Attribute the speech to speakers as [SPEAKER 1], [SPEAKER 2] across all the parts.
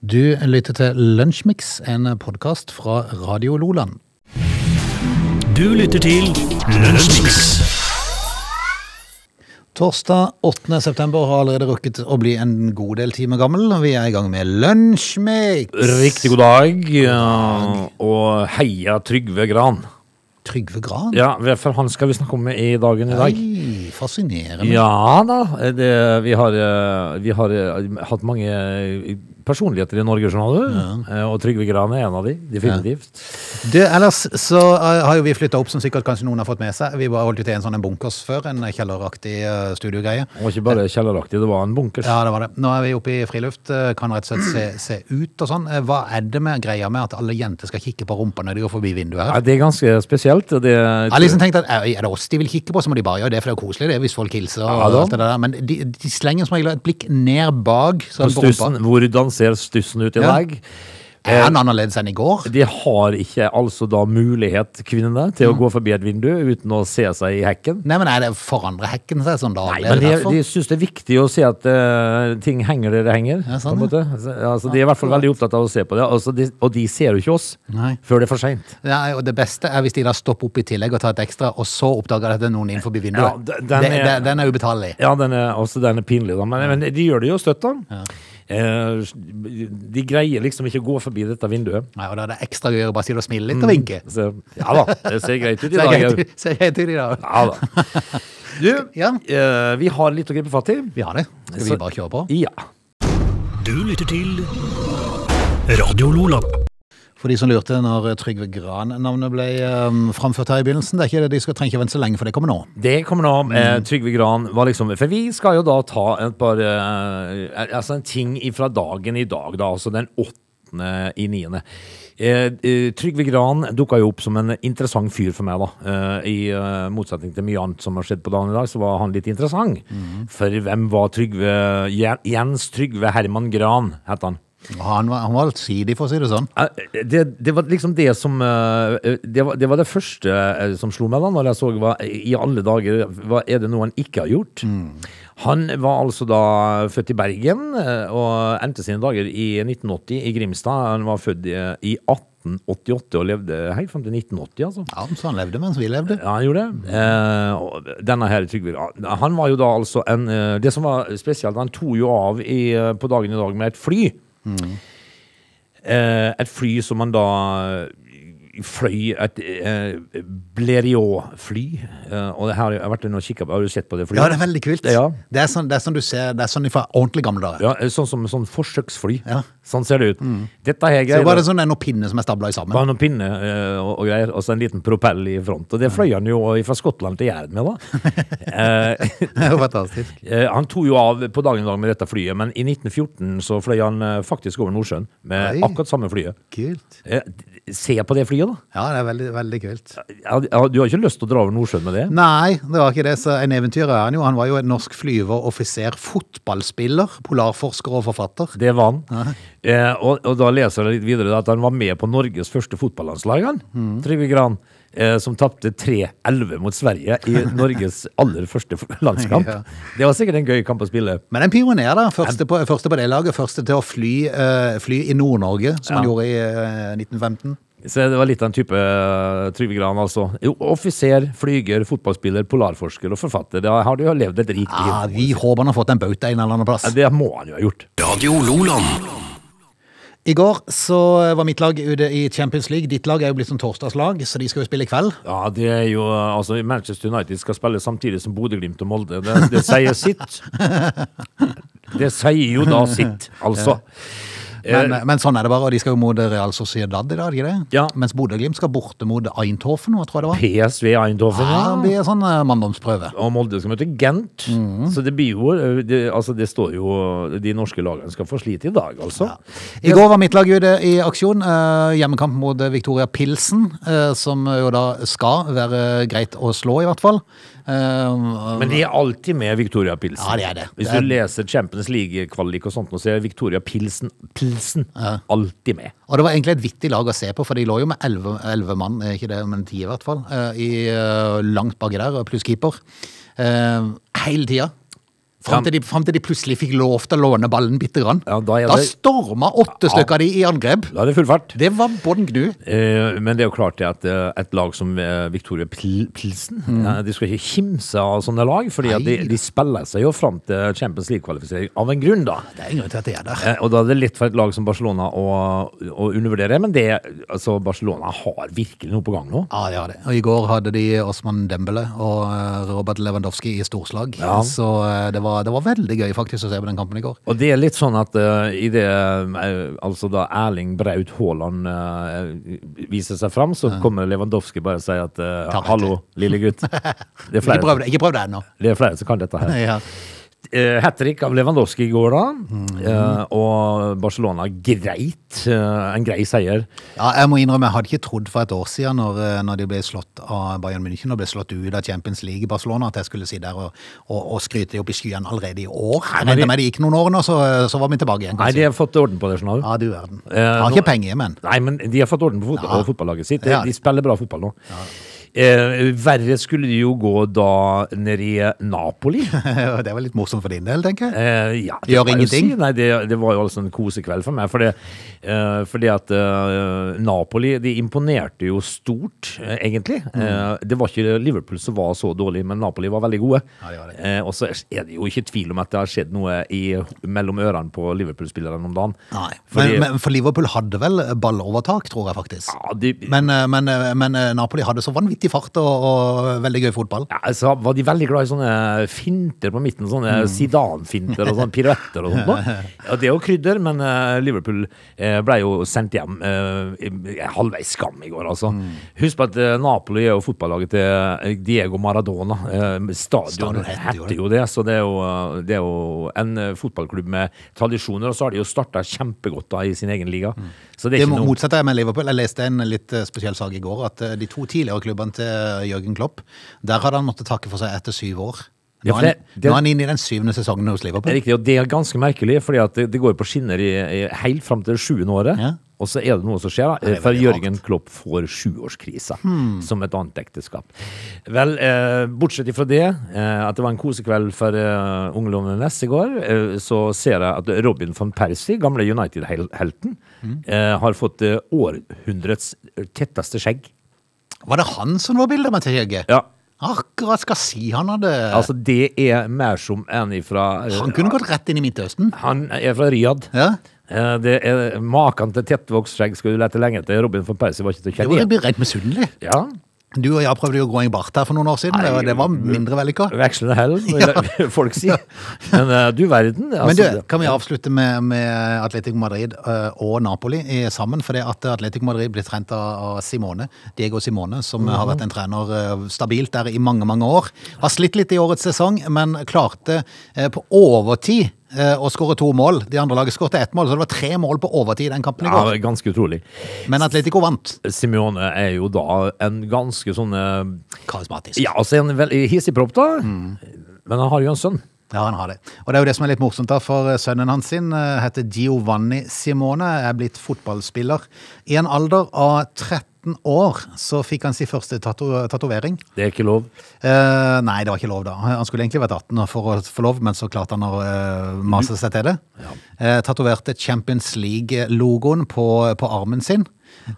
[SPEAKER 1] Du lytter til Lunsjmix, en podkast fra Radio Loland.
[SPEAKER 2] Du lytter til Lunsjmix.
[SPEAKER 1] Torsdag 8. september har allerede rukket å bli en god del timer gammel. Vi er i gang med Lunsjmix.
[SPEAKER 2] Riktig god dag, ja, og heia Trygve Gran.
[SPEAKER 1] Trygve Gran.
[SPEAKER 2] Ja, for han skal vi snakke om i dagen i dag.
[SPEAKER 1] Oi, fascinerende.
[SPEAKER 2] Ja da, det, vi har, eh, vi har eh, hatt mange eh, personligheter i Norge, skjønner du. Eh, Og Trygve Gran er en av de, definitivt.
[SPEAKER 1] Du, ellers så eh, har jo vi flytta opp, som sikkert kanskje noen har fått med seg. Vi bare holdt jo til en sånn en bunkers før, en kjelleraktig eh, studiogreie.
[SPEAKER 2] Han var ikke bare kjelleraktig, det var en bunkers.
[SPEAKER 1] Ja, det var det. Nå er vi oppe i friluft, eh, kan rett og slett se, se ut og sånn. Eh, Hva er det med greia med at alle jenter skal kikke på rumpa når de går forbi vinduet her?
[SPEAKER 2] Ja, det er ganske spesielt. og Det,
[SPEAKER 1] Jeg har liksom tenkt at er er det oss de vil kikke på, så må de bare gjøre det, for det er jo koselig det, hvis folk hilser og
[SPEAKER 2] Ja da.
[SPEAKER 1] alt det der. Men de, de slenger som regel et blikk ned bak.
[SPEAKER 2] på
[SPEAKER 1] Sånn på rumpa.
[SPEAKER 2] stussen, hvordan ser stussen ut i
[SPEAKER 1] Ja.
[SPEAKER 2] dag?
[SPEAKER 1] Er han annerledes enn i går?
[SPEAKER 2] De har ikke altså da mulighet, kvinnene, til å
[SPEAKER 1] Mm.
[SPEAKER 2] gå forbi et vindu uten å se seg i hekken.
[SPEAKER 1] Nei, men er det forandrer hekken seg sånn daglig?
[SPEAKER 2] Men
[SPEAKER 1] er
[SPEAKER 2] de,
[SPEAKER 1] det derfor?
[SPEAKER 2] de syns det er viktig å se at eh, ting henger der det henger.
[SPEAKER 1] Ja, sånn,
[SPEAKER 2] på en måte. Altså, de er i hvert fall veldig opptatt av å se på det, altså, de, og de ser jo ikke oss
[SPEAKER 1] Nei.
[SPEAKER 2] før det er for seint.
[SPEAKER 1] Nei, og det beste er hvis de da stopper opp i tillegg og tar et ekstra, og så oppdager de at det er noen innenfor vinduet.
[SPEAKER 2] Ja, d- den
[SPEAKER 1] Det-
[SPEAKER 2] er-
[SPEAKER 1] det- den er ubetalelig.
[SPEAKER 2] Ja, den er, altså, den er pinlig, da. Men, men de gjør det jo støtt, da. Eh, de greier liksom ikke å gå forbi dette vinduet.
[SPEAKER 1] Nei, og da er det ekstra gøy å bare si det og smile
[SPEAKER 2] Mm.
[SPEAKER 1] litt og vinke.
[SPEAKER 2] Så, ja da, det ser greit ut
[SPEAKER 1] Ser
[SPEAKER 2] i dag.
[SPEAKER 1] greit
[SPEAKER 2] jeg.
[SPEAKER 1] ut- Ser greit ut i dag.
[SPEAKER 2] Ja da. Du,
[SPEAKER 1] Ja.
[SPEAKER 2] eh, vi har litt å gripe fatt i.
[SPEAKER 1] Vi har det. Skal vi
[SPEAKER 2] Så-
[SPEAKER 1] bare kjøre på?
[SPEAKER 2] Ja.
[SPEAKER 3] Du lytter til Radio Lola.
[SPEAKER 1] For de som lurte når Trygve Gran-navnet ble eh, framført her i begynnelsen, det er ikke det de skal trenger ikke vente så lenge, for det kommer nå.
[SPEAKER 2] Det kommer nå. Eh, Trygve Gran var liksom For vi skal jo da ta et par eh, Altså en ting ifra dagen i dag, da. Altså den åttende i niende. Eh, eh, Trygve Gran dukka jo opp som en interessant fyr for meg, da. Eh, I eh, motsetning til mye annet som har skjedd på dagen i dag, så var han litt interessant. For hvem var Trygve Jen- Jens Trygve Herman Gran, het han.
[SPEAKER 1] Og Han var, han var litt sidig, for å si det sånn.
[SPEAKER 2] Eh, Det, det var liksom det som eh, det var, det var det første eh, som slo meg da Når jeg så hva i alle dager Hva er det noe han ikke har gjort? Han var altså da født i Bergen eh, Og endte sine dager i 1980 i Grimstad Han var født i, i 1888 og levde helt frem til 1980 altså
[SPEAKER 1] Ja, så han levde mens vi levde.
[SPEAKER 2] ja, han gjorde det. Eh, og denne her Trygve ja, Han var jo da altså en eh, Det som var spesielt, han tok jo av i, eh, på dagen i dag med et fly. Eh, et fly som han da eh, fløy Et eh, Blériot-fly. Eh, og det her har jeg vært inne og kikket på. Har du sett på det flyet?
[SPEAKER 1] Ja, det er veldig kult.
[SPEAKER 2] Ja.
[SPEAKER 1] Det, er sånn, det er sånn du ser, det er sånn fra ordentlig gamle dager.
[SPEAKER 2] Ja, eh, sånn som sånn forsøksfly.
[SPEAKER 1] Ja.
[SPEAKER 2] Sånn ser det ut. Dette her
[SPEAKER 1] Det
[SPEAKER 2] greier
[SPEAKER 1] var det sånn det er noen pinner som er stabla i sammen.
[SPEAKER 2] Bare noen pinne eh, og, og greier, og så en liten propell i front. Og det fløy han jo fra Skottland til Jæren med, da. eh,
[SPEAKER 1] Det er jo fantastisk.
[SPEAKER 2] Eh, Han tok jo av på dagen i dag med dette flyet, men i 1914 så fløy han eh, faktisk over Nordsjøen med
[SPEAKER 1] Oi.
[SPEAKER 2] akkurat samme flyet.
[SPEAKER 1] Kult.
[SPEAKER 2] Eh, Se på det flyet, da.
[SPEAKER 1] Ja, det er veldig, veldig kult.
[SPEAKER 2] Ja, ja, Du har ikke lyst til å dra over Nordsjøen med det?
[SPEAKER 1] Nei, det var ikke det. Så en eventyrer er han jo. Han var jo en norsk flyver, offiser, fotballspiller, polarforsker og forfatter.
[SPEAKER 2] Det var han. Eh, og, og da leser jeg litt videre at han var med på Norges første fotballandslag, han.
[SPEAKER 1] Mm.
[SPEAKER 2] Trygve Gran. Eh, som tapte 3-11 mot Sverige i Norges aller første landskamp.
[SPEAKER 1] Ja.
[SPEAKER 2] Det var sikkert en gøy kamp å spille.
[SPEAKER 1] Men en pioner, da. Første på, første på det laget. Første til å fly, eh, fly i Nord-Norge, som han
[SPEAKER 2] Ja.
[SPEAKER 1] gjorde i eh, 1915.
[SPEAKER 2] Så det var litt av en type eh, Trygve Gran, altså. Jo, Offiser, flyger, fotballspiller, polarforsker og forfatter. Da har du jo levd et rikt
[SPEAKER 1] Ja,
[SPEAKER 2] liv.
[SPEAKER 1] vi håper han har fått en bauta en eller annen plass.
[SPEAKER 2] Ja, Det må han jo ha gjort.
[SPEAKER 3] Radio Loland.
[SPEAKER 1] I går så var mitt lag ute i Champions League. Ditt lag er jo blitt sånn torsdagslag, så de skal jo spille i kveld.
[SPEAKER 2] Ja, det er jo eh, Altså, Manchester United skal spille samtidig som Bodø-Glimt og Molde. Det, det sier sitt. Det sier jo da sitt, altså.
[SPEAKER 1] Men, men sånn er det bare, og de skal jo mot Real Sociedad i dag, ikke det?
[SPEAKER 2] Ja.
[SPEAKER 1] Mens Bodø-Glimt skal borte mot Eindhoven, hva tror jeg det var?
[SPEAKER 2] PSV Eindhoven,
[SPEAKER 1] Ja, det
[SPEAKER 2] ja.
[SPEAKER 1] blir sånn eh, manndomsprøve.
[SPEAKER 2] Ah, Og Molde skal møte Gent. Så det blir jo eh, det, Altså, det står jo De norske lagene skal få slite i dag, altså.
[SPEAKER 1] I går var mitt lag ute i aksjon. eh, hjemmekamp mot eh, Victoria Pilsen, eh, som jo da skal være greit å slå, i hvert fall. Eh,
[SPEAKER 2] Men de er alltid med Victoria Pilsen.
[SPEAKER 1] Ja, det er det.
[SPEAKER 2] Hvis
[SPEAKER 1] Det er-
[SPEAKER 2] du leser Champions League-kvalik og sånt, nå, så er Victoria Pilsen, Pilsen alltid med.
[SPEAKER 1] og det var egentlig et vittig lag å se på, for de lå jo med elleve elleve mann, eh, ikke det, men ti i hvert fall, eh, i, eh, langt baki der, pluss keeper. Eh, hele tida. Fram til, de, fram til de plutselig fikk lov til å låne ballen bitte grann.
[SPEAKER 2] Ja, da er
[SPEAKER 1] da
[SPEAKER 2] det-
[SPEAKER 1] storma åtte stykker av de i angrep.
[SPEAKER 2] Da er det full fart.
[SPEAKER 1] Det var bånn gnu.
[SPEAKER 2] Eh, men det er jo klart det at eh, et lag som eh, Victoria Pil Pilsen eh, De skal ikke kimse av sånne lag, Fordi at
[SPEAKER 1] Mm.
[SPEAKER 2] de,
[SPEAKER 1] Nei.
[SPEAKER 2] de spiller seg jo fram til Champions League-kvalifisering av en grunn, da.
[SPEAKER 1] Det er en grunn til at de er der.
[SPEAKER 2] Eh, og da er det lett for et lag som Barcelona å, å undervurdere, men det, altså Barcelona har virkelig noe på gang nå.
[SPEAKER 1] Ja, ja, det. Og I går hadde de Osman Dembele og eh, Robert Lewandowski i storslag.
[SPEAKER 2] Ja.
[SPEAKER 1] Så eh, det var, det var veldig gøy faktisk å se på den kampen i går.
[SPEAKER 2] Og det er litt sånn at eh, i det eh, altså da Erling Braut Haaland eh, viser seg fram, så kommer Lewandowski bare og sier at eh,
[SPEAKER 1] Ta meg
[SPEAKER 2] 'hallo, lille gutt'. Det er
[SPEAKER 1] Ikke prøv
[SPEAKER 2] flere,
[SPEAKER 1] det, ikke prøv det ennå.
[SPEAKER 2] det er flere som kan dette her.
[SPEAKER 1] Ja.
[SPEAKER 2] Uh, Hat trick av Lewandowski i går, da.
[SPEAKER 1] Mm.
[SPEAKER 2] Eh, og Barcelona greit. eh, en grei seier.
[SPEAKER 1] Ja, jeg må innrømme, jeg hadde ikke trodd for et år siden, når, eh, når de ble slått av Bayern München og ble slått ut av Champions League i Barcelona, at jeg skulle si der og, og, og skryte de opp i skyene allerede i år. Jeg
[SPEAKER 2] men
[SPEAKER 1] regner
[SPEAKER 2] det-
[SPEAKER 1] med det gikk noen år nå, så, så var vi tilbake igjen.
[SPEAKER 2] Nei,
[SPEAKER 1] kanskje.
[SPEAKER 2] de har fått orden på det. skjønner du.
[SPEAKER 1] Ja, du verden.
[SPEAKER 2] Eh,
[SPEAKER 1] Jeg har
[SPEAKER 2] nå-
[SPEAKER 1] ikke penger, men.
[SPEAKER 2] Nei, men de har fått orden på,
[SPEAKER 1] Ja.
[SPEAKER 2] fotball, på fotballaget sitt.
[SPEAKER 1] Ja.
[SPEAKER 2] De, de spiller bra fotball nå. Eh, verre skulle de jo gå da nede i Napoli.
[SPEAKER 1] det var litt morsomt for din del, tenker jeg.
[SPEAKER 2] Eh, ja,
[SPEAKER 1] Gjør
[SPEAKER 2] det kan jeg jo
[SPEAKER 1] ingenting.
[SPEAKER 2] Si. Nei, det, det var jo altså en kosekveld for meg. For det, eh, fordi at eh, Napoli de imponerte jo stort, eh, egentlig.
[SPEAKER 1] Mm.
[SPEAKER 2] Eh, det var ikke Liverpool som var så dårlig, men Napoli var veldig gode.
[SPEAKER 1] Ja, de var det.
[SPEAKER 2] Eh, og så er det jo ikke tvil om at det har skjedd noe i, mellom ørene på Liverpool-spillerne om dagen.
[SPEAKER 1] Nei,
[SPEAKER 2] Fordi-
[SPEAKER 1] men, men for Liverpool hadde vel ballovertak, tror jeg faktisk.
[SPEAKER 2] ja, de,
[SPEAKER 1] Men, eh, men, eh, men eh, Napoli hadde så vanvittig fart og, og veldig gøy fotball.
[SPEAKER 2] ja, så var de veldig glad i sånne finter på midten, sånne
[SPEAKER 1] Mm.
[SPEAKER 2] sidanfinter og sånne piruetter og sånt. da. Ja, det er jo krydder, men eh, Liverpool eh, ble jo sendt hjem eh, i- halvveis skam i går, altså.
[SPEAKER 1] Mm.
[SPEAKER 2] Husk på at eh, Napoli er jo fotballaget til eh, Diego Maradona. Eh, stadion
[SPEAKER 1] Stadion heter jo
[SPEAKER 2] heter jo det, så det er jo, eh, det er jo en eh, fotballklubb med tradisjoner, og så har de jo starta kjempegodt da i sin egen liga. Så det
[SPEAKER 1] Mm. Det
[SPEAKER 2] er ikke noe
[SPEAKER 1] motsatte er med Liverpool. Jeg leste en litt eh, spesiell sak i går, at eh, de to tidligere klubbene til Jørgen Klopp, der hadde han måttet takke for seg etter syv år.
[SPEAKER 2] Ja,
[SPEAKER 1] Nå
[SPEAKER 2] for
[SPEAKER 1] er han,
[SPEAKER 2] det- det-
[SPEAKER 1] nå er han inne i den syvende sesongen hos
[SPEAKER 2] Det er
[SPEAKER 1] Liverpool.
[SPEAKER 2] Riktig, og det er ganske merkelig, fordi at det, det går på skinner i, i, helt fram til det sjuende året.
[SPEAKER 1] Ja.
[SPEAKER 2] Og så er det noe som skjer, da,
[SPEAKER 1] det er
[SPEAKER 2] for
[SPEAKER 1] veldig Hmm.
[SPEAKER 2] Jørgen Klopp får sjuårskrisa som et annet ekteskap. Vel, eh, bortsett ifra det, eh, at det var en kosekveld for eh, ungdommen Ness i går, eh, så ser jeg at Robin van Persie, gamle United-helten,
[SPEAKER 1] Hmm.
[SPEAKER 2] eh, har fått eh, århundrets tetteste skjegg.
[SPEAKER 1] Var det han som var bildet med til Jørgen?
[SPEAKER 2] Ja,
[SPEAKER 1] Akkurat skal si han hadde...
[SPEAKER 2] altså det er mer som en ifra eh,
[SPEAKER 1] han kunne gått rett inn i Midtøsten.
[SPEAKER 2] Han er fra Riyadh.
[SPEAKER 1] Ja.
[SPEAKER 2] Eh, Det er Maken til tettvokst skjegg skal du lete lenge etter. Robin van Persie var ikke til å
[SPEAKER 1] Det
[SPEAKER 2] kjenne
[SPEAKER 1] var
[SPEAKER 2] igjen.
[SPEAKER 1] blir rent misunnelig.
[SPEAKER 2] Ja,
[SPEAKER 1] Du og jeg prøvde jo å gå i bart her for noen år siden, det var, det var mindre vellykka.
[SPEAKER 2] Vekslende hell, vil folk si. Men eh, du verden.
[SPEAKER 1] Men
[SPEAKER 2] Altså,
[SPEAKER 1] du, kan vi avslutte med, med Atletico Madrid eh, og Napoli i- sammen? For det at Atletico Madrid blir trent av av Simone, Diego Simone, som eh, har
[SPEAKER 2] Mhm.
[SPEAKER 1] vært en trener eh, stabilt der i mange, mange år. Har slitt litt i årets sesong, men klarte eh, på overtid eh, å skåre to mål. De andre laget skårte ett mål, så det var tre mål på overtid i den kampen i
[SPEAKER 2] ja,
[SPEAKER 1] går.
[SPEAKER 2] ganske utrolig.
[SPEAKER 1] Men Atletico vant.
[SPEAKER 2] Simione er jo da en ganske sånn eh,
[SPEAKER 1] Karismatisk.
[SPEAKER 2] Ja, altså en veldig hissigpropp, da.
[SPEAKER 1] Mm.
[SPEAKER 2] Men han har jo en sønn.
[SPEAKER 1] Ja, han har det. Og det er jo det som er litt morsomt, da, for sønnen hans sin eh, heter Giovanni Simone, er blitt fotballspiller. I en alder av 13 år så fikk han sin første tato- tatovering.
[SPEAKER 2] Det er ikke lov.
[SPEAKER 1] Eh, nei, det var ikke lov da. Han skulle egentlig vært 18 for å få lov, men så klarte han å eh, mase seg til det. Eh, tatoverte Champions League-logoen på, på armen sin.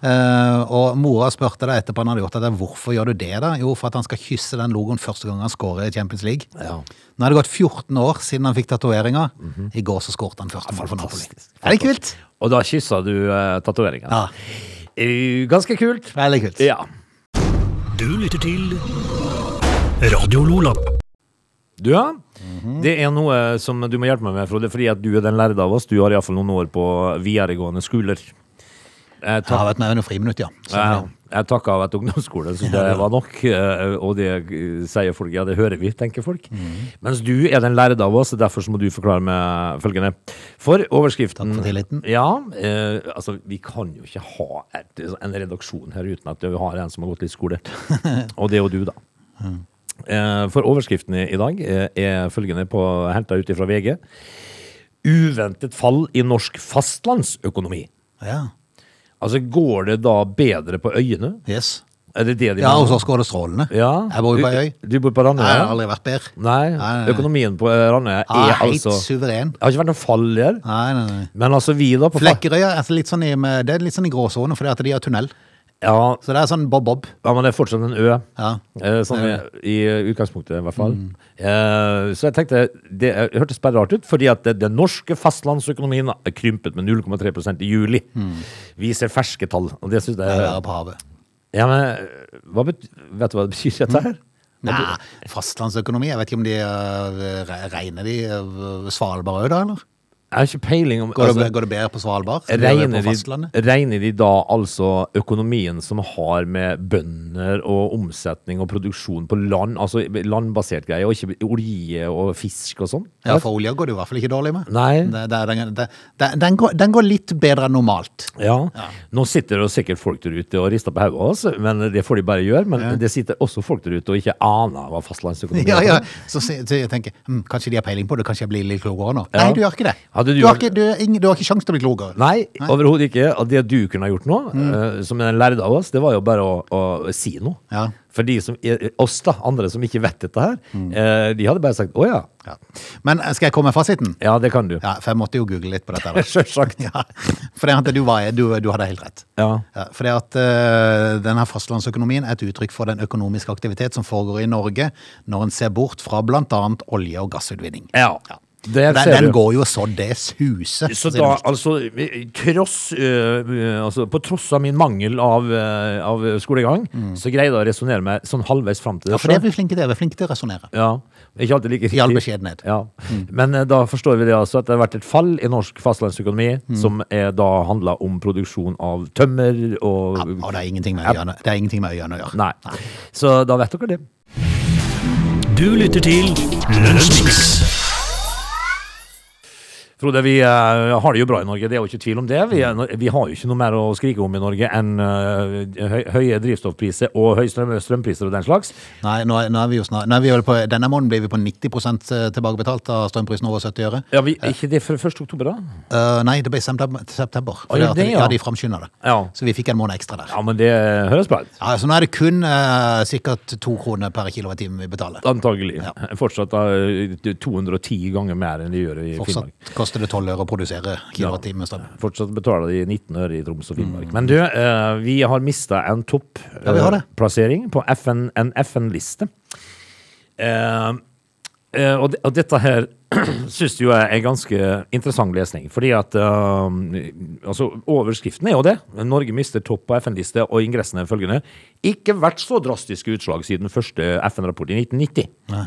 [SPEAKER 1] Eh, og mora spurte da etterpå han hadde gjort det, hvorfor gjør du det da? Jo, for at han skal kysse den logoen første gang han scorer i Champions League.
[SPEAKER 2] Ja.
[SPEAKER 1] Nå har det gått 14 år siden han fikk tatoveringa. I går så skåret han første mål for Napoli. Er det kult?
[SPEAKER 2] Og da kyssa du uh, tatoveringa.
[SPEAKER 1] Ja.
[SPEAKER 2] Eh, ganske kult.
[SPEAKER 1] Veldig kult.
[SPEAKER 2] Ja.
[SPEAKER 3] Du lytter til Radio Lola.
[SPEAKER 2] Du, ja. Det er noe som du må hjelpe meg med, Frode, fordi at du er den lærde av oss. Du har iallfall noen år på videregående skoler. Eh, Jeg,
[SPEAKER 1] Jeg
[SPEAKER 2] tak
[SPEAKER 1] har vært med under friminutt, ja. Så,
[SPEAKER 2] ja, jeg takker av et ungdomsskole, så det var nok. eh, Og det eh, sier folk. Ja, det hører vi, tenker folk.
[SPEAKER 1] Mm.
[SPEAKER 2] Mens du er den lærde av oss, og derfor så må du forklare meg følgende. For overskriften
[SPEAKER 1] Takk for tilliten.
[SPEAKER 2] Ja, eh, altså, vi kan jo ikke ha et, en redaksjon her uten at vi har en som har gått litt skole. Og det er jo du, da.
[SPEAKER 1] Mm.
[SPEAKER 2] Eh, For overskriften i i dag eh, er følgende på henta ut ifra VG. Uventet fall i norsk fastlandsøkonomi.
[SPEAKER 1] ja.
[SPEAKER 2] Altså, går det da bedre på øyene?
[SPEAKER 1] Yes.
[SPEAKER 2] Er det det de
[SPEAKER 1] Ja, og
[SPEAKER 2] mener?
[SPEAKER 1] så går det strålende.
[SPEAKER 2] Ja.
[SPEAKER 1] Jeg bor jo på ei øy.
[SPEAKER 2] Du, du bor på
[SPEAKER 1] Jeg har
[SPEAKER 2] Randøya?
[SPEAKER 1] aldri vært bedre.
[SPEAKER 2] Nei.
[SPEAKER 1] Nei, nei, nei.
[SPEAKER 2] Økonomien på eh, Randøya
[SPEAKER 1] Ja,
[SPEAKER 2] er
[SPEAKER 1] helt
[SPEAKER 2] altså
[SPEAKER 1] suveren.
[SPEAKER 2] Det har ikke vært noen fall der.
[SPEAKER 1] Nei, nei, nei.
[SPEAKER 2] Men altså, vi da på fa-
[SPEAKER 1] Flekkerøya er altså litt sånn i, med, det er litt sånn i gråsone, fordi at de har tunnel.
[SPEAKER 2] Ja,
[SPEAKER 1] Så det er sånn bob-bob.
[SPEAKER 2] ja, men det er fortsatt en ø.
[SPEAKER 1] Ja. Mm.
[SPEAKER 2] Eh, Sånn i, i utgangspunktet, i hvert fall. Eh, så jeg tenkte Det eh, hørtes bare rart ut, fordi at det- den norske fastlandsøkonomien er krympet med 0,3 i juli.
[SPEAKER 1] Mm.
[SPEAKER 2] Vi ser ferske tall, og det syns jeg
[SPEAKER 1] Det er
[SPEAKER 2] ja.
[SPEAKER 1] verre på havet.
[SPEAKER 2] men hva bet, Vet du hva det betyr,
[SPEAKER 1] Mm.
[SPEAKER 2] dette her?
[SPEAKER 1] Nei, fastlandsøkonomi. Jeg vet ikke om de øh, re- regner de øh, Svalbard òg, da, eller?
[SPEAKER 2] Jeg har ikke peiling om
[SPEAKER 1] Går,
[SPEAKER 2] altså-
[SPEAKER 1] det, går det bedre på Svalbard? enn det gjør
[SPEAKER 2] Regner
[SPEAKER 1] på
[SPEAKER 2] de,
[SPEAKER 1] fastlandet?
[SPEAKER 2] regner de da altså økonomien som har med bønder og omsetning og produksjon på land, altså landbasert greie, og ikke olje og fisk og sånn?
[SPEAKER 1] Ja, for olja går det jo i hvert fall ikke dårlig med.
[SPEAKER 2] Nei.
[SPEAKER 1] Det, det, er den, det, den, den, går, den går litt bedre enn normalt.
[SPEAKER 2] Ja. Nå sitter det jo sikkert folk der ute og rister på hodet av oss, men det får de bare gjøre. Men det sitter også folk der ute og ikke aner hva fastlandsøkonomi
[SPEAKER 1] Ja,
[SPEAKER 2] er.
[SPEAKER 1] ja. Så, se- så jeg tenker hm, kanskje de har peiling på det, kanskje jeg blir litt klokere nå.
[SPEAKER 2] Ja.
[SPEAKER 1] Nei, du gjør ikke det.
[SPEAKER 2] Hadde du
[SPEAKER 1] har
[SPEAKER 2] vært-
[SPEAKER 1] ikke, du, ingen, du har ikke sjanse til å bli klokere.
[SPEAKER 2] Nei, overhodet ikke. Og det du kunne ha gjort nå, eh, som den lærde av oss, det var jo bare å, å si noe.
[SPEAKER 1] Mm. Ja.
[SPEAKER 2] For de som, er- oss da, andre som ikke vet dette her,
[SPEAKER 1] Mm.
[SPEAKER 2] eh, de hadde bare sagt å ja.
[SPEAKER 1] Ja. Men eh, skal jeg komme med fasiten?
[SPEAKER 2] Ja, det kan du.
[SPEAKER 1] Ja, for jeg måtte jo google litt på dette. da.
[SPEAKER 2] Sjølsagt.
[SPEAKER 1] Ja, for det at du, var, du, du hadde helt rett.
[SPEAKER 2] Ja.
[SPEAKER 1] for det at eh, denne fastlandsøkonomien er et uttrykk for den økonomiske aktivitet som foregår i Norge når en ser bort fra bl.a. olje- og gassutvinning.
[SPEAKER 2] Ja.
[SPEAKER 1] Den,
[SPEAKER 2] Der ser
[SPEAKER 1] den
[SPEAKER 2] du.
[SPEAKER 1] går jo så det suser.
[SPEAKER 2] Så
[SPEAKER 1] sier
[SPEAKER 2] da,
[SPEAKER 1] du.
[SPEAKER 2] altså, tross, øh, øh, altså På tross av min mangel av, øh, av skolegang, så greide jeg å resonnere meg sånn halvveis fram til det.
[SPEAKER 1] Mm. ja, for det er vi
[SPEAKER 2] selv.
[SPEAKER 1] flinke til. Vi er flinke til å resonnere.
[SPEAKER 2] ja, ikke alltid like
[SPEAKER 1] I all
[SPEAKER 2] riktig.
[SPEAKER 1] beskjedenhet. Mm.
[SPEAKER 2] Ja. Men eh, da forstår vi det altså at det har vært et fall i norsk fastlandsøkonomi
[SPEAKER 1] Mm.
[SPEAKER 2] som er da handla om produksjon av tømmer og
[SPEAKER 1] Ja, og det er ingenting med øyene, det er ingenting med øyene å gjøre.
[SPEAKER 2] Nei. Så da vet dere det.
[SPEAKER 3] Du lytter til Lunsjmix.
[SPEAKER 2] Frode, vi eh, har det jo bra i Norge, det er jo ikke tvil om det. Vi, er- vi har jo ikke noe mer å skrike om i Norge enn eh, høy, høye drivstoffpriser og høye strøm, strømpriser og den slags.
[SPEAKER 1] Nei, nå er, nå er vi jo snart, nå er vi vel på, Denne måneden blir vi på 90 tilbakebetalt av strømprisen over 70 øre.
[SPEAKER 2] Ja, vi, ikke det før 1. oktober, da?
[SPEAKER 1] Eh, nei, det ble september. september for
[SPEAKER 2] Å, ja,
[SPEAKER 1] at
[SPEAKER 2] det,
[SPEAKER 1] de-
[SPEAKER 2] ja.
[SPEAKER 1] ja, de framskynda det.
[SPEAKER 2] Ja.
[SPEAKER 1] Så vi fikk en måned ekstra der.
[SPEAKER 2] Ja, men det høres bra ut.
[SPEAKER 1] Ja, så nå er det kun eh, sikkert to kroner per kilowattime vi betaler.
[SPEAKER 2] Antagelig. Fortsatt eh, 210 ganger mer enn de gjør i Finnmark.
[SPEAKER 1] Fortsatt koster det tolv øre å produsere kilowattime strøm.
[SPEAKER 2] Fortsatt betaler de 19 øre i Troms og Finnmark. Men du, eh, vi har mista en
[SPEAKER 1] Ja, vi har det.
[SPEAKER 2] topplassering på FN, en FN-liste. Eh, eh, og, de, og dette her syns jo jeg er ganske interessant lesning. Fordi at eh, altså, Overskriften er jo det. Norge mister topp på FN-liste, og ingressen er følgende. Ikke vært så drastiske utslag siden første FN-rapport i 1990.
[SPEAKER 1] Ja,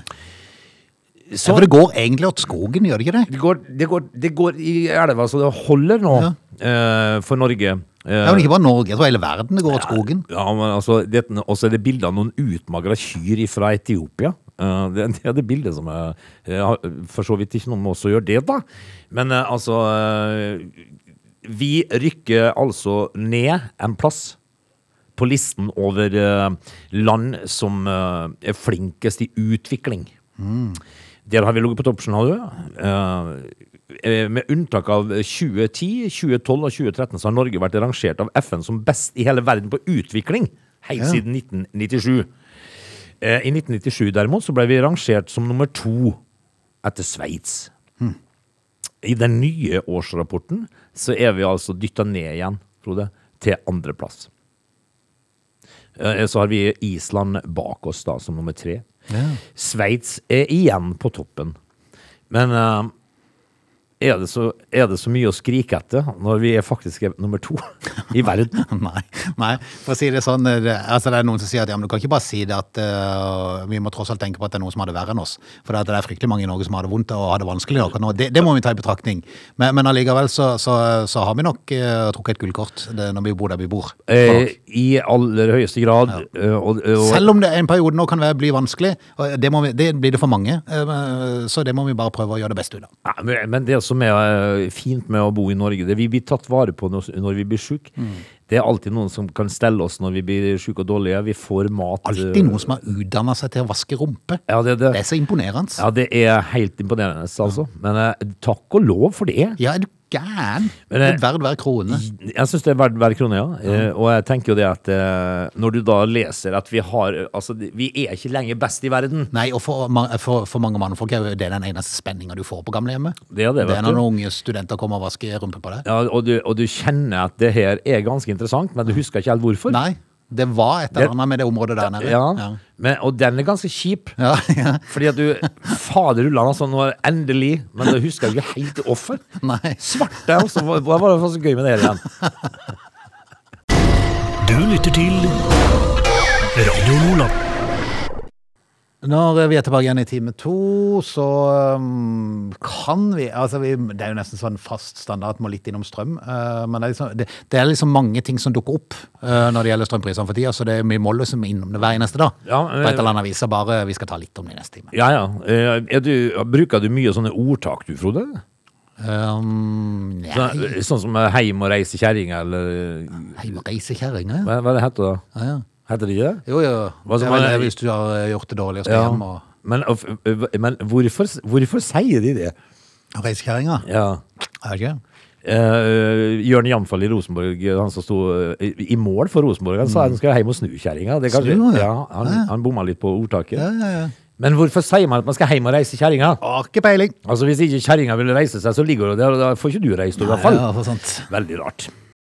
[SPEAKER 1] for det går egentlig åt skogen, gjør det ikke det?
[SPEAKER 2] Det går, det går, det går i elva så det holder nå eh, for Norge.
[SPEAKER 1] Det
[SPEAKER 2] Eh,
[SPEAKER 1] er vel ikke bare Norge, jeg tror hele verden det går åt skogen.
[SPEAKER 2] Ja, men altså, det- Og så er det bilde av noen utmagra kyr fra Etiopia. Eh, det, det er det bildet som er jeg har For så vidt ikke noe med oss å gjøre det, da. Men eh, altså eh, Vi rykker altså ned en plass på listen over eh, land som eh, er flinkest i utvikling. Der har vi ligget på topp, skjønner du. Eh, eh, med unntak av 2010, 2012 og 2013 så har Norge vært rangert av FN som best i hele verden på utvikling helt
[SPEAKER 1] Ja.
[SPEAKER 2] siden 1997. Eh, I 1997 derimot så ble vi rangert som nummer to etter Sveits. I den nye årsrapporten så er vi altså dytta ned igjen, Frode, til andreplass. Eh, Så har vi Island bak oss da, som nummer tre.
[SPEAKER 1] Ja.
[SPEAKER 2] Sveits er igjen på toppen. Men eh, er, det så, er det så mye å skrike etter når vi er faktisk er nummer to i verden?
[SPEAKER 1] Nei, nei, for å si det sånn eh, det, altså Det er noen som sier at ja, men du kan ikke bare si det at eh, vi må tross alt tenke på at det er noen som har det verre enn oss. For det, at det er fryktelig mange i Norge som har det vondt og har det vanskelig akkurat nå. Det, det må vi ta i betraktning. Men, men allikevel så, så, så har vi nok eh, trukket et gullkort det, når vi bor der vi bor.
[SPEAKER 2] Eh, I aller høyeste grad. eh, og, og,
[SPEAKER 1] Selv om det er en periode nå kan være, bli vanskelig, og det, må vi, det blir det for mange, eh, så det må vi bare prøve å gjøre det beste ut av.
[SPEAKER 2] Nei, men- men det som er eh, fint med å bo i Norge, det er vi blir tatt vare på når når vi blir syke.
[SPEAKER 1] Mm.
[SPEAKER 2] Det er alltid noen som kan stelle oss når vi blir syke og dårlige. Vi får mat. eh,
[SPEAKER 1] Alltid noen som har utdanna seg til å vaske rumpe.
[SPEAKER 2] Ja, det,
[SPEAKER 1] Det er så imponerende.
[SPEAKER 2] Ja, det er helt imponerende, altså. Men eh, takk og lov for det.
[SPEAKER 1] Ja, er du gæren?
[SPEAKER 2] Men,
[SPEAKER 1] det
[SPEAKER 2] eh,
[SPEAKER 1] er verdt hver krone.
[SPEAKER 2] Jeg syns det er verdt hver krone, ja. Eh, og jeg tenker jo det at eh, når du da leser at vi har eh, Altså, vi er ikke lenger best i verden.
[SPEAKER 1] Nei, og for, ma- for, for mange mannfolk er jo det den eneste spenninga du får på gamlehjemmet.
[SPEAKER 2] Det er det,
[SPEAKER 1] det
[SPEAKER 2] vet
[SPEAKER 1] er når
[SPEAKER 2] du.
[SPEAKER 1] noen unge studenter kommer og vasker rumpa på deg.
[SPEAKER 2] Ja, og, du, og du kjenner at det her er ganske interessant, men du husker ikke helt hvorfor.
[SPEAKER 1] Nei, det var et
[SPEAKER 2] Det-
[SPEAKER 1] eller annet med det området der nede.
[SPEAKER 2] Ja, Men, og den er ganske kjip.
[SPEAKER 1] Ja, ja.
[SPEAKER 2] Fordi at du Fader, du landa sånn nå, endelig, men du husker jo ikke helt hvorfor.
[SPEAKER 1] Nei.
[SPEAKER 2] Svarte, altså. Hva hva var det så gøy med det hele igjen?
[SPEAKER 3] Du lytter til Radio Lola.
[SPEAKER 1] Når eh, vi er tilbake igjen i time to, så um, kan vi altså vi, Det er jo nesten sånn fast standard at vi må litt innom strøm. eh, men det er, liksom, det, det er liksom mange ting som dukker opp eh, når det gjelder strømprisene for tida, så det, vi må liksom innom det hver eneste dag.
[SPEAKER 2] Ja,
[SPEAKER 1] på
[SPEAKER 2] eh,
[SPEAKER 1] et eller annet vis. så Bare vi skal ta litt om det i neste time.
[SPEAKER 2] Ja, ja. Eh, Er du, bruker du mye sånne ordtak, du, Frode?
[SPEAKER 1] Um,
[SPEAKER 2] Så,
[SPEAKER 1] nei,
[SPEAKER 2] sånn som eh, 'heim og reise kjerringa', eller
[SPEAKER 1] heimereisekjerringa.
[SPEAKER 2] hva, hva er det heter det? da?
[SPEAKER 1] Ja, ja.
[SPEAKER 2] Heter det ikke det?
[SPEAKER 1] Jo, jo.
[SPEAKER 2] Hva
[SPEAKER 1] Det
[SPEAKER 2] som
[SPEAKER 1] er vel
[SPEAKER 2] er-
[SPEAKER 1] det hvis du har eh, gjort det dårlig og skal
[SPEAKER 2] Ja.
[SPEAKER 1] hjem og
[SPEAKER 2] Men, og f- ø- men hvorfor, hvorfor sier de det?
[SPEAKER 1] og reisekjerringa.
[SPEAKER 2] Ja.
[SPEAKER 1] Er det ikke?
[SPEAKER 2] Uh, Jørn Jamfall i Rosenborg, han som sto eh, i i mål for Rosenborg, han sa han skal hjem og snu kjerringa. Det er kanskje-
[SPEAKER 1] Snu, ja.
[SPEAKER 2] ja, han, han bomma litt på ordtaket.
[SPEAKER 1] Ja, ja, ja.
[SPEAKER 2] Men hvorfor sier man at man skal hjem og reise kjerringa?
[SPEAKER 1] Har ikke peiling.
[SPEAKER 2] Altså, hvis ikke kjerringa vil reise seg, så ligger hun der, og da får ikke du reist, i hvert fall.
[SPEAKER 1] Ja, for sant.
[SPEAKER 2] Veldig rart.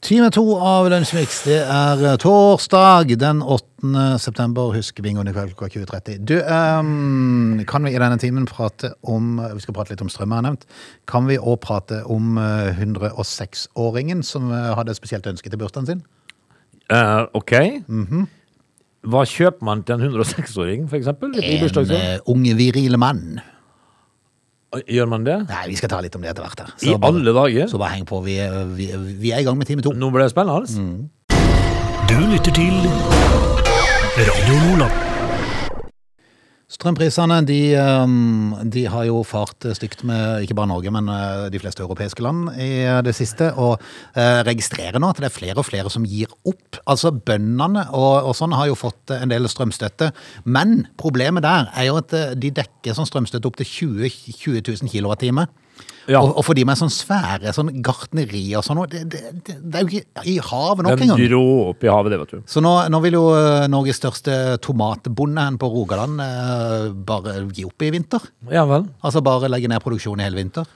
[SPEAKER 1] Time to av Lunsjmix. Det er eh, torsdag den 8. september. Husk bingoen i kveld klokka 20.30. Du, ehm, kan vi i denne timen prate om Vi skal prate litt om strøm, jeg har nevnt. Kan vi òg prate om eh, 106-åringen som eh, hadde et spesielt ønske til bursdagen sin?
[SPEAKER 2] Eh, ok.
[SPEAKER 1] Mhm.
[SPEAKER 2] Hva kjøper man til en 106-åring, for eksempel? I
[SPEAKER 1] En eh,
[SPEAKER 2] bursdagsgave?
[SPEAKER 1] ung, viril mann.
[SPEAKER 2] Gjør man det?
[SPEAKER 1] Nei, vi skal ta litt om det etter hvert. her.
[SPEAKER 2] I
[SPEAKER 1] Så bare-
[SPEAKER 2] alle dager?
[SPEAKER 1] Så bare heng på. Vi, er- vi, vi er i gang med time to.
[SPEAKER 2] Nå ble det spennende. altså.
[SPEAKER 1] Mm.
[SPEAKER 3] Du lytter til Radio Lola.
[SPEAKER 1] Strømprisene de, um, de har jo fart stygt med ikke bare Norge, men uh, de fleste europeiske land i uh, det siste. Og uh, registrerer nå at det er flere og flere som gir opp. Altså Bøndene og, og sånn har jo fått uh, en del strømstøtte. Men problemet der er jo at uh, de dekker sånn strømstøtte opp til 20, 20 000 kilowattime.
[SPEAKER 2] Ja.
[SPEAKER 1] Og, og for de med sånn svære sånn gartneri og sånn, og det, det, det, det er jo ikke i havet nok
[SPEAKER 2] Den
[SPEAKER 1] engang.
[SPEAKER 2] dro opp i havet, det, vet du.
[SPEAKER 1] Så nå, nå vil jo eh, Norges største tomatbonde hen på Rogaland eh, bare gi opp i vinter.
[SPEAKER 2] Ja vel.
[SPEAKER 1] Altså bare legge ned produksjonen i hele vinter.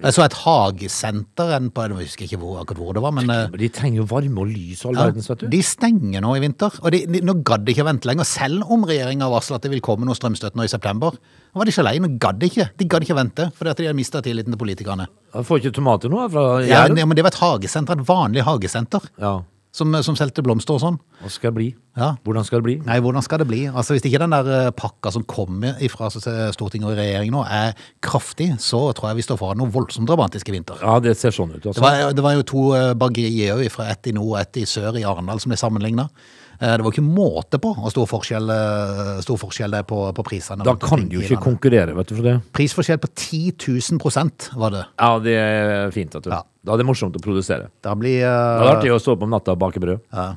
[SPEAKER 1] Jeg så et hagesenter en på, jeg husker ikke hvor, akkurat hvor det var, men eh,
[SPEAKER 2] Men de trenger jo varme og lys og all
[SPEAKER 1] ja,
[SPEAKER 2] verdens, vet du.
[SPEAKER 1] de stenger nå i vinter. Og de, de, nå gadd de ikke å vente lenger, selv om regjeringa varsla at det vil komme noe strømstøtte nå i september. Nå var de ikke alene, gadd de ikke. De gadd ikke vente, fordi at de har mista tilliten til politikerne.
[SPEAKER 2] Jeg får ikke tomater nå jeg, fra
[SPEAKER 1] Ja,
[SPEAKER 2] Jæren.
[SPEAKER 1] men det var et hagesenter, et vanlig hagesenter,
[SPEAKER 2] Ja.
[SPEAKER 1] som, som solgte blomster og sånn.
[SPEAKER 2] Hva skal det bli?
[SPEAKER 1] Ja.
[SPEAKER 2] Hvordan skal det bli?
[SPEAKER 1] Nei, hvordan skal det bli? Altså, Hvis ikke den der eh, pakka som kommer fra Stortinget og regjeringen nå er kraftig, så tror jeg vi står foran noe voldsomt dramatisk i vinter.
[SPEAKER 2] Ja, det ser sånn ut. Altså.
[SPEAKER 1] Det var, det var jo to eh, bakerier jo, fra ett i nord og ett i sør i Arendal som ble sammenligna. Det var ikke måte på hvor stor forskjell, eh, stor forskjell det er på, på prisene.
[SPEAKER 2] Da
[SPEAKER 1] rundt
[SPEAKER 2] kan
[SPEAKER 1] omkring
[SPEAKER 2] de jo
[SPEAKER 1] i
[SPEAKER 2] ikke
[SPEAKER 1] landet.
[SPEAKER 2] konkurrere, vet du, for det.
[SPEAKER 1] Prisforskjell på 10 000 var det.
[SPEAKER 2] Ja, det er fint, vet du.
[SPEAKER 1] Ja.
[SPEAKER 2] Da er det morsomt å produsere.
[SPEAKER 1] Da blir,
[SPEAKER 2] Det er
[SPEAKER 1] eh,
[SPEAKER 2] artig å stå opp om natta og bake brød.
[SPEAKER 1] ja,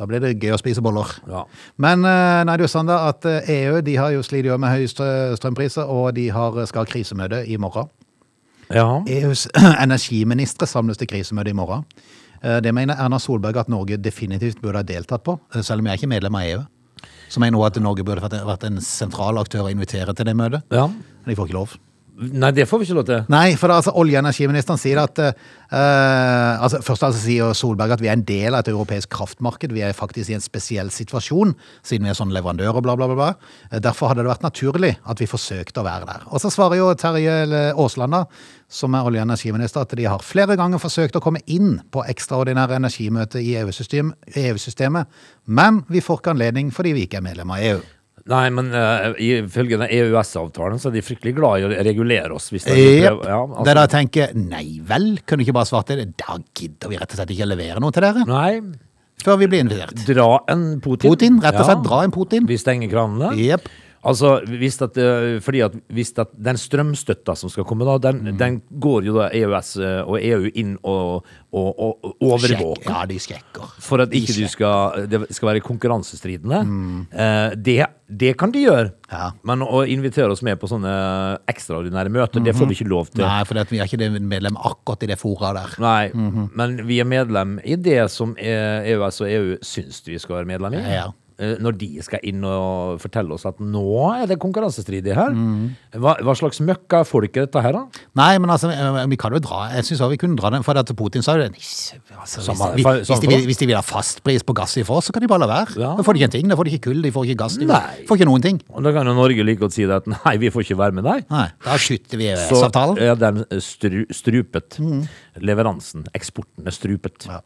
[SPEAKER 1] da blir det gøy å spise boller.
[SPEAKER 2] Ja.
[SPEAKER 1] Men eh, nei, det er jo sånn da at eh, EU de har jo slitt jo med høye strø- strømpriser, og de har, eh, skal ha krisemøte i morgen.
[SPEAKER 2] ja.
[SPEAKER 1] EUs E energiministre samles til krisemøte i morgen. Eh, Det mener Erna Solberg at Norge definitivt burde ha deltatt på, eh, selv om jeg er ikke medlem av EU. Så mener hun at Norge burde vært- vært en sentral aktør å invitere til det møtet.
[SPEAKER 2] ja.
[SPEAKER 1] Men de får ikke lov.
[SPEAKER 2] Nei, det får vi ikke lov til.
[SPEAKER 1] Nei, for altså, olje- og energiministeren sier at eh, eh, altså, Først altså, sier Solberg at vi er en del av et europeisk kraftmarked. Vi er faktisk i en spesiell situasjon, siden vi er sånn leverandør og bla, bla, bla. bla. Eh, Derfor hadde det vært naturlig at vi forsøkte å være der. Og så svarer jo Terje L- Aasland, da, som er olje- og energiminister, at de har flere ganger forsøkt å komme inn på ekstraordinære energimøter i EU-system- EU-systemet, men vi får ikke anledning fordi vi ikke er medlem av E EU.
[SPEAKER 2] Nei, men uh, ifølge den EØS-avtalen så er de fryktelig glad i å regulere oss. Hvis de
[SPEAKER 1] Jep.
[SPEAKER 2] prøver- ja, altså.
[SPEAKER 1] Det er da jeg tenker, nei vel, kunne du ikke bare svart det? Da gidder vi rett og slett ikke å levere noe til dere
[SPEAKER 2] Nei,
[SPEAKER 1] før vi blir invitert.
[SPEAKER 2] dra en Putin.
[SPEAKER 1] Putin, rett og slett dra en Putin.
[SPEAKER 2] Vi stenger kranene.
[SPEAKER 1] Jep.
[SPEAKER 2] Altså, hvis at, eh, fordi at, hvis at den strømstøtta som skal komme, da, den,
[SPEAKER 1] Mm.
[SPEAKER 2] den går jo da E EØS eh, og EU inn og, og, og, og
[SPEAKER 1] Sjekk.
[SPEAKER 2] overvåker.
[SPEAKER 1] Ja, de sjekker. Mm.
[SPEAKER 2] For at ikke du skal, det skal være konkurransestridende. Eh, det, det kan de gjøre.
[SPEAKER 1] Ja.
[SPEAKER 2] Men å invitere oss med på sånne ekstraordinære møter,
[SPEAKER 1] Mhm.
[SPEAKER 2] det får vi ikke lov til.
[SPEAKER 1] Nei, for vi er ikke det medlem akkurat i det fora der.
[SPEAKER 2] Nei,
[SPEAKER 1] Mhm.
[SPEAKER 2] men vi er medlem i det som eh, EØS og EU syns vi skal være medlem i.
[SPEAKER 1] Ja.
[SPEAKER 2] Eh, Når de skal inn og fortelle oss at nå er det konkurransestrid i her.
[SPEAKER 1] Mhm.
[SPEAKER 2] Hva, hva slags møkka folk er dette her, da?
[SPEAKER 1] Nei, men altså, eh, vi kan jo dra Jeg syns vi kunne dra den, for at Putin sa jo det. "Nis, Altså, hvis,
[SPEAKER 2] Samme-
[SPEAKER 1] vi-
[SPEAKER 2] fa-
[SPEAKER 1] hvis,
[SPEAKER 2] samme
[SPEAKER 1] de vil,
[SPEAKER 2] for-
[SPEAKER 1] hvis de vil ha fastpris på gass ifra oss, så kan de bare la være.
[SPEAKER 2] Ja.
[SPEAKER 1] Da får de ikke en ting. Da får de ikke kull, de får ikke gass, de
[SPEAKER 2] Nei.
[SPEAKER 1] får ikke noen ting.
[SPEAKER 2] Og da kan jo Norge like godt si det at nei, vi får ikke være med deg.
[SPEAKER 1] Nei, Da skyter vi
[SPEAKER 2] Så
[SPEAKER 1] EØS-avtalen.
[SPEAKER 2] er den stru, strupet. Leveransen, eksporten, er
[SPEAKER 1] Mhm.
[SPEAKER 2] strupet.
[SPEAKER 1] Ja.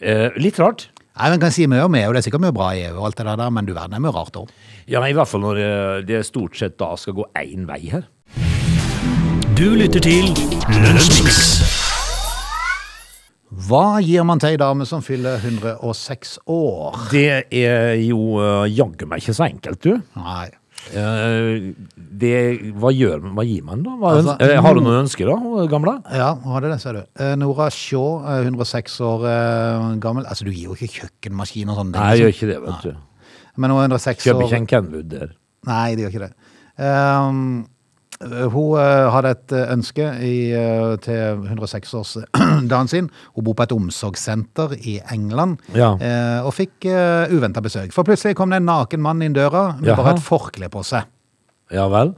[SPEAKER 2] Eh, litt rart.
[SPEAKER 1] Nei, men kan jeg si mye om EU, det er sikkert mye bra i EU, og alt det der, men du verden det er mye rart òg.
[SPEAKER 2] Ja, nei, I hvert fall når eh, det stort sett da skal gå én vei her.
[SPEAKER 3] Du lytter til Lunsjmix.
[SPEAKER 1] Hva gir man til ei dame som fyller 106 år?
[SPEAKER 2] Det er jo eh, jaggu meg ikke så enkelt, du.
[SPEAKER 1] Nei.
[SPEAKER 2] Eh, det, hva gjør man? Hva gir man, da? Hva,
[SPEAKER 1] Altså,
[SPEAKER 2] øns- eh, har du noen ønsker, da, hun gamle?
[SPEAKER 1] Ja, hun hadde det, ser du. Eh, Nora Shaw, eh, 106 år eh, gammel. Altså, du gir jo ikke kjøkkenmaskin og sånne ting.
[SPEAKER 2] Nei, jeg
[SPEAKER 1] liksom.
[SPEAKER 2] gjør ikke det, vet du.
[SPEAKER 1] Men hun er 106
[SPEAKER 2] Kjøper
[SPEAKER 1] år
[SPEAKER 2] ikke en Kenwood der.
[SPEAKER 1] Nei, det gjør ikke det. Ehm, hun eh, hadde et eh, ønske i, eh, til 106-årsdagen sin. Hun bor på et omsorgssenter i England
[SPEAKER 2] Ja.
[SPEAKER 1] eh, og fikk uh, uventa besøk. For plutselig kom det en naken mann inn døra med
[SPEAKER 2] Jaha.
[SPEAKER 1] bare et forkle på seg.
[SPEAKER 2] Ja vel?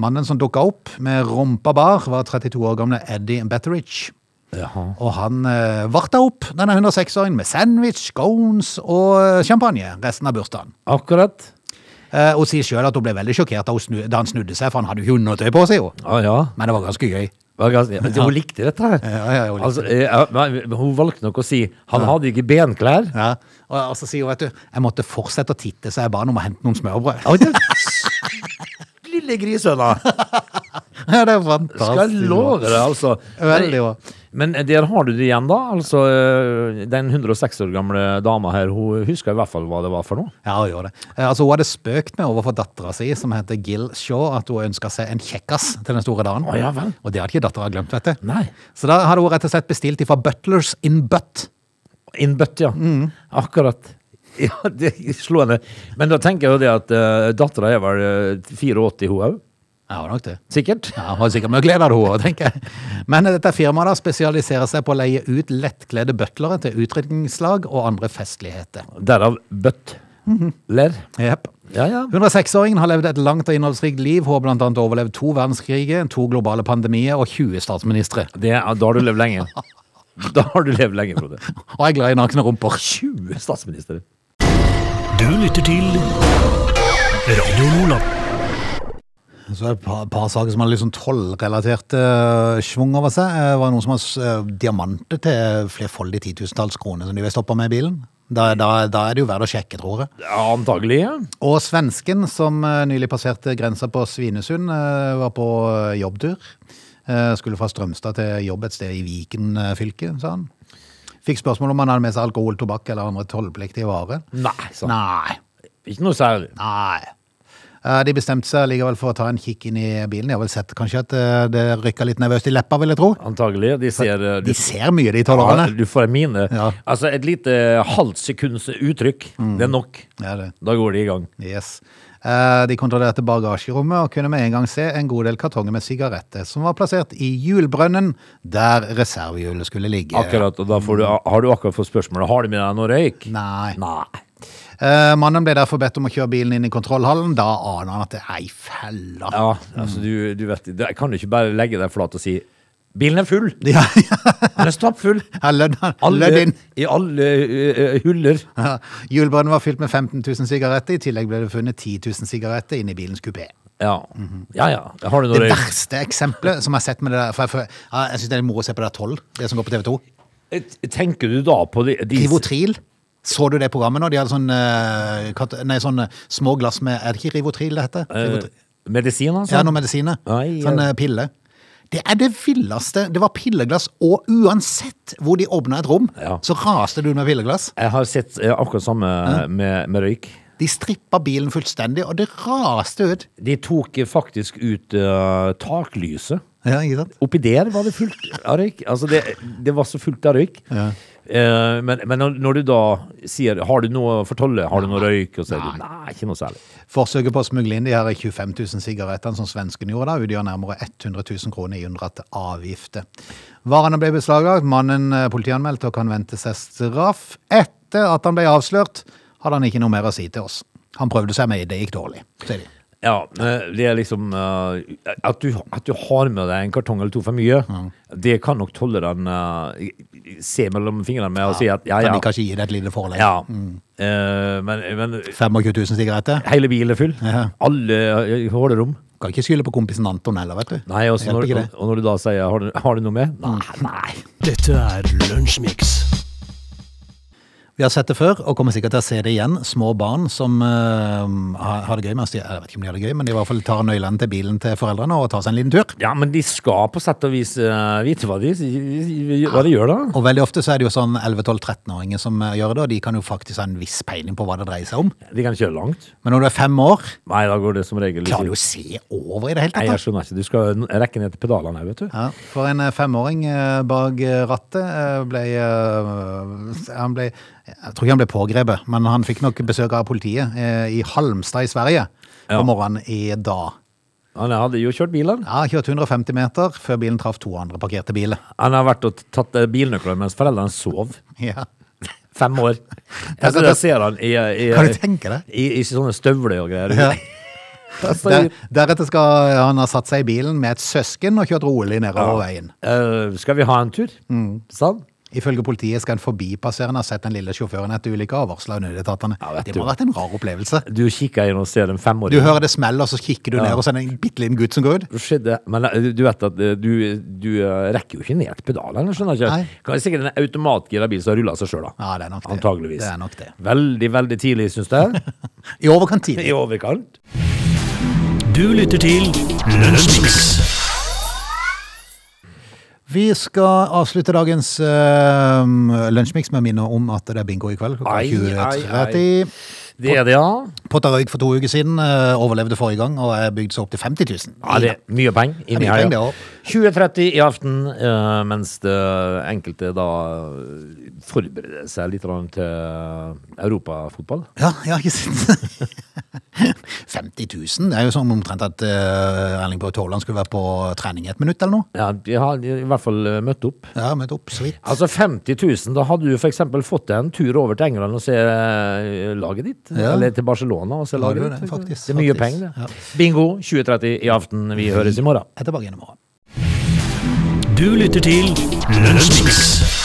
[SPEAKER 1] Mannen som dukka opp med rumpa bar, var 32 år gamle Eddie Betteridge.
[SPEAKER 2] Jaha.
[SPEAKER 1] Og han eh, varta opp denne 106-åringen med sandwich, scones og eh, champagne resten av bursdagen.
[SPEAKER 2] Akkurat.
[SPEAKER 1] Eh, Hun sier sjøl at hun ble veldig sjokkert da, hun snu, da han snudde seg, for han hadde jo ikke undertøy på seg, jo.
[SPEAKER 2] Ah, ja.
[SPEAKER 1] Men det var ganske gøy.
[SPEAKER 2] Var gans- ja, men Hun likte dette her.
[SPEAKER 1] Ja, ja, hun likte
[SPEAKER 2] altså, eh, ja, men hun valgte nok å si han hadde ikke benklær.
[SPEAKER 1] Ja. Og, og så sier hun, vet du, jeg måtte fortsette å titte, så jeg ba han om å hente noen smørbrød.
[SPEAKER 2] Oi, det- Lille grisøna.
[SPEAKER 1] Ja, det er fantastisk.
[SPEAKER 2] Skal jeg love det, altså.
[SPEAKER 1] Veldig bra.
[SPEAKER 2] Men eh, der har du det igjen, da. Altså, eh, den 106 år gamle dama her, hun husker i hvert fall hva det var for noe.
[SPEAKER 1] Ja, hun gjorde det. Eh, Altså, hun hadde spøkt med overfor dattera si, som heter Gil Shaw, at hun ønska seg en kjekkas til den store dagen.
[SPEAKER 2] Å, ja vel.
[SPEAKER 1] Og det hadde ikke dattera glemt, vet du.
[SPEAKER 2] Nei.
[SPEAKER 1] Så da hadde hun rett og slett bestilt ifra Butlers in Butt.
[SPEAKER 2] In butt, ja. Akkurat. Mm. Ja, det er slående. Men da tenker jeg jo det at uh, dattera er vel eh, 84, hun òg?
[SPEAKER 1] Ja, det var nok det.
[SPEAKER 2] Sikkert?
[SPEAKER 1] Ja, Hun har sikkert mye glede av det, hun også, tenker jeg. Men dette firmaet da spesialiserer seg på å leie ut lettkledde butlere til utdrikningslag og andre festligheter.
[SPEAKER 2] Derav butt. Ler.
[SPEAKER 1] Jep.
[SPEAKER 2] Mhm. Ja, ja.
[SPEAKER 1] 106-åringen har levd et langt og innholdsrikt liv. Hun har blant annet overlevd to verdenskriger, to globale pandemier og 20 statsministre.
[SPEAKER 2] Det, er- da har du levd lenge. Da har du levd lenge, Frode.
[SPEAKER 1] Og er glad i nakne rumper.
[SPEAKER 2] 20 statsministre.
[SPEAKER 3] Du lytter til Radio Lola.
[SPEAKER 1] Så er det et par, par saker som har litt sånn tollrelatert uh, svung over seg. Eh, Det var noen som har eh, diamanter til flerfoldige titusentalls kroner som de vil stoppe med i bilen. Da, da, da er det jo verdt å sjekke, tror jeg.
[SPEAKER 2] Ja, antagelig, ja.
[SPEAKER 1] Og svensken som eh, nylig passerte grensa på Svinesund, eh, var på eh, jobbtur. Eh, Skulle fra Strømstad til jobb et sted i Viken eh, fylke, sa han. Fikk spørsmål om han hadde med seg alkohol, tobakk eller andre tollpliktige varer.
[SPEAKER 2] Nei, sa han.
[SPEAKER 1] Nei.
[SPEAKER 2] Ikke noe særlig.
[SPEAKER 1] Nei. Eh, De bestemte seg likevel for å ta en kikk inn i bilen. Jeg har vel sett kanskje at eh, det rykka litt nervøst i leppa, vil jeg tro.
[SPEAKER 2] Antagelig. De ser eh, du,
[SPEAKER 1] De ser mye, de
[SPEAKER 2] ja,
[SPEAKER 1] tollerne.
[SPEAKER 2] du får en mine.
[SPEAKER 1] Ja.
[SPEAKER 2] Altså, et lite eh, halvt sekunds uttrykk, det er nok.
[SPEAKER 1] Ja, det.
[SPEAKER 2] Da går de i gang.
[SPEAKER 1] Yes. Eh, De kontrollerte bagasjerommet og kunne med en gang se en god del kartonger med sigaretter som var plassert i hjulbrønnen der reservehjulet skulle ligge.
[SPEAKER 2] Akkurat, og da får du, har du akkurat fått spørsmålet Har du med deg noe røyk?
[SPEAKER 1] Nei.
[SPEAKER 2] Nei.
[SPEAKER 1] Eh, Mannen ble derfor bedt om å kjøre bilen inn i kontrollhallen. Da aner han at det er ei felle.
[SPEAKER 2] Ja, altså du, du vet det Kan du ikke bare legge deg flat og si Bilen er full,
[SPEAKER 1] Ja,
[SPEAKER 2] den er stappfull
[SPEAKER 1] ja, lødd
[SPEAKER 2] alle,
[SPEAKER 1] lødd inn.
[SPEAKER 2] I alle eh, huller
[SPEAKER 1] Ja, Hjulbrønnen var fylt med 15 000 sigaretter. I tillegg ble det funnet 10 000 sigaretter inne i bilens kupé.
[SPEAKER 2] ja. ja, ja, har du noe
[SPEAKER 1] Mhm. Det
[SPEAKER 2] røyk?
[SPEAKER 1] verste eksempelet som jeg har sett med det der, for jeg, for, ja, jeg syns det er moro å se på det der 12, det som går på TV 2.
[SPEAKER 2] Eh, Tenker du da på de, de
[SPEAKER 1] Rivotril. Så du det programmet nå? De hadde sånn, eh, kat- nei, sånn eh, små glass med Er det ikke Rivotril det heter?
[SPEAKER 2] eh,
[SPEAKER 1] Rivotril.
[SPEAKER 2] Medisin altså?
[SPEAKER 1] Ja, noen medisiner.
[SPEAKER 2] Ai, ja.
[SPEAKER 1] Sånn eh, pille. Det er det villeste. Det var pilleglass, og uansett hvor de åpna et rom,
[SPEAKER 2] Ja.
[SPEAKER 1] så raste du med pilleglass.
[SPEAKER 2] Jeg har sett eh, akkurat samme med, med røyk
[SPEAKER 1] De strippa bilen fullstendig, og det raste ut.
[SPEAKER 2] De tok eh, faktisk ut eh, taklyset.
[SPEAKER 1] Ja, ikke sant?
[SPEAKER 2] Oppi der var det fullt av røyk. Altså det, det var så fullt av røyk.
[SPEAKER 1] Ja.
[SPEAKER 2] Eh, men, men når- når du da sier Har du noe for tolle? Har du noe røyk? Og så er du nei, ikke noe særlig.
[SPEAKER 1] Forsøket på å smugle inn de her 25 000 sigarettene som svensken gjorde da, utgjør nærmere 100 000 kroner i unndratte avgifter. Varene ble beslaglagt, mannen eh, politianmeldte og kan vente seg straff. Etter at han ble avslørt, hadde han ikke noe mer å si til oss. Han prøvde seg med, det gikk dårlig, sier de.
[SPEAKER 2] Ja, men det er liksom eh, at, du, at du har med deg en kartong eller to for mye, det kan nok tollerne eh, se mellom fingrene med og si at ja,
[SPEAKER 1] Kan Mm.
[SPEAKER 2] ja.
[SPEAKER 1] de kanskje gi deg et lille forelegg?
[SPEAKER 2] ja. Eh, men, men
[SPEAKER 1] 25 000 sigaretter?
[SPEAKER 2] hele bilen er full.
[SPEAKER 1] Ja.
[SPEAKER 2] Alle eh, hålerom.
[SPEAKER 1] Kan ikke skylde på kompisen Anton heller, vet du.
[SPEAKER 2] Nei, og så
[SPEAKER 1] Hjelper
[SPEAKER 2] når,
[SPEAKER 1] ikke det.
[SPEAKER 2] og, og når du da sier har du, har du noe med? Nei, nei.
[SPEAKER 3] Dette er Lunsjmix.
[SPEAKER 1] Vi har sett det før, og kommer sikkert til å se det igjen. Små barn som eh, har har det gøy mens de Jeg vet ikke om de har det gøy, men de i hvert fall tar nøklene til bilen til foreldrene og tar seg en liten tur.
[SPEAKER 2] Ja, men de skal på sett og vis eh, vite hva de, hva de gjør, da.
[SPEAKER 1] Og veldig ofte så er det jo sånn 11-12-13-åringer som eh, gjør det, og de kan jo faktisk ha en viss peiling på hva det dreier seg om.
[SPEAKER 2] De kan kjøre langt.
[SPEAKER 1] Men når du er fem år,
[SPEAKER 2] Nei, da går det som regel
[SPEAKER 1] klarer du
[SPEAKER 2] ikke.
[SPEAKER 1] å se over i det hele
[SPEAKER 2] Nei,
[SPEAKER 1] tatt.
[SPEAKER 2] jeg
[SPEAKER 1] da?
[SPEAKER 2] skjønner ikke. Du skal n- rekke ned til pedalene her, vet du.
[SPEAKER 1] Ja, for en eh, femåring eh, bak eh, rattet eh, ble, eh, han ble Jeg tror ikke han ble pågrepet, men han fikk nok besøk av politiet eh, i Halmstad i Sverige
[SPEAKER 2] Ja.
[SPEAKER 1] på morgenen i dag.
[SPEAKER 2] Han hadde jo kjørt bilen.
[SPEAKER 1] Ja, han kjørte 150 meter før bilen traff to andre parkerte biler.
[SPEAKER 2] Han har vært og tatt eh, bilnøklene mens foreldrene sov.
[SPEAKER 1] Ja.
[SPEAKER 2] Fem år.
[SPEAKER 1] Ja,
[SPEAKER 2] Altså,
[SPEAKER 1] det-
[SPEAKER 2] der ser han i, i,
[SPEAKER 1] Kan du tenke deg?
[SPEAKER 2] i, i sånne støvler og greier.
[SPEAKER 1] Ja.
[SPEAKER 2] Altså,
[SPEAKER 1] Der, deretter skal han ha satt seg i bilen med et søsken og kjørt rolig nedover veien.
[SPEAKER 2] eh, skal vi ha en tur?
[SPEAKER 1] Mm.
[SPEAKER 2] Sånn?
[SPEAKER 1] Ifølge politiet skal en forbipasserende ha sett den lille sjåføren etter ulykka og varsla nødetatene.
[SPEAKER 2] Ja, vet
[SPEAKER 1] det
[SPEAKER 2] du.
[SPEAKER 1] må ha vært en rar opplevelse.
[SPEAKER 2] Du kikker inn og ser en femåring.
[SPEAKER 1] Du hører det smelle, og så kikker du ned, og så er det en bitte liten gutt som går ut.
[SPEAKER 2] Det skjedde, men eh, du vet at eh, du, du eh, rekker jo ikke ned til pedalene, skjønner ikke?
[SPEAKER 1] Nei.
[SPEAKER 2] Kan være sikkert en automatgira bil som har rullet seg selv da.
[SPEAKER 1] Ja, det er nok det.
[SPEAKER 2] Antageligvis.
[SPEAKER 1] Det er nok det.
[SPEAKER 2] Veldig, veldig tidlig, synes jeg.
[SPEAKER 1] I overkant tidlig.
[SPEAKER 2] I overkant.
[SPEAKER 3] Du lytter til Lunsjmix.
[SPEAKER 1] Vi skal avslutte dagens uh, lunsjmix med å minne om at det er bingo i kveld klokka
[SPEAKER 2] Ai, ai,
[SPEAKER 1] 20.30.
[SPEAKER 2] Det er det, ja.
[SPEAKER 1] Potta røyk for to uker siden, eh, overlevde forrige gang og er bygd seg opp til 50 000.
[SPEAKER 2] Ja, det er mye penger
[SPEAKER 1] Det er
[SPEAKER 2] inni
[SPEAKER 1] mye
[SPEAKER 2] her.
[SPEAKER 1] penger, det
[SPEAKER 2] Ja.
[SPEAKER 1] også.
[SPEAKER 2] 20.30 i aften, eh, mens det enkelte da eh, forbereder seg litt grann til eh, europafotball.
[SPEAKER 1] Ja, ja, ikke sant? 50 000, det er jo sånn omtrent at eh, Erling Braut Haaland skulle være på trening i et minutt eller noe.
[SPEAKER 2] Ja, de har i hvert fall eh, møtt opp.
[SPEAKER 1] Ja, møtt opp så vidt.
[SPEAKER 2] Altså 50 000, da hadde du for eksempel fått deg en tur over til England og se eh, laget ditt.
[SPEAKER 1] Ja.
[SPEAKER 2] Eller til Barcelona og se
[SPEAKER 1] Har du det,
[SPEAKER 2] laget ditt. Det,
[SPEAKER 1] faktisk,
[SPEAKER 2] er mye
[SPEAKER 1] faktisk.
[SPEAKER 2] penger det.
[SPEAKER 1] Ja.
[SPEAKER 2] Bingo 20.30 i aften, vi høres i morgen.
[SPEAKER 1] Jeg er tilbake igjen i morgen.
[SPEAKER 3] Du lytter til Lunsjmix.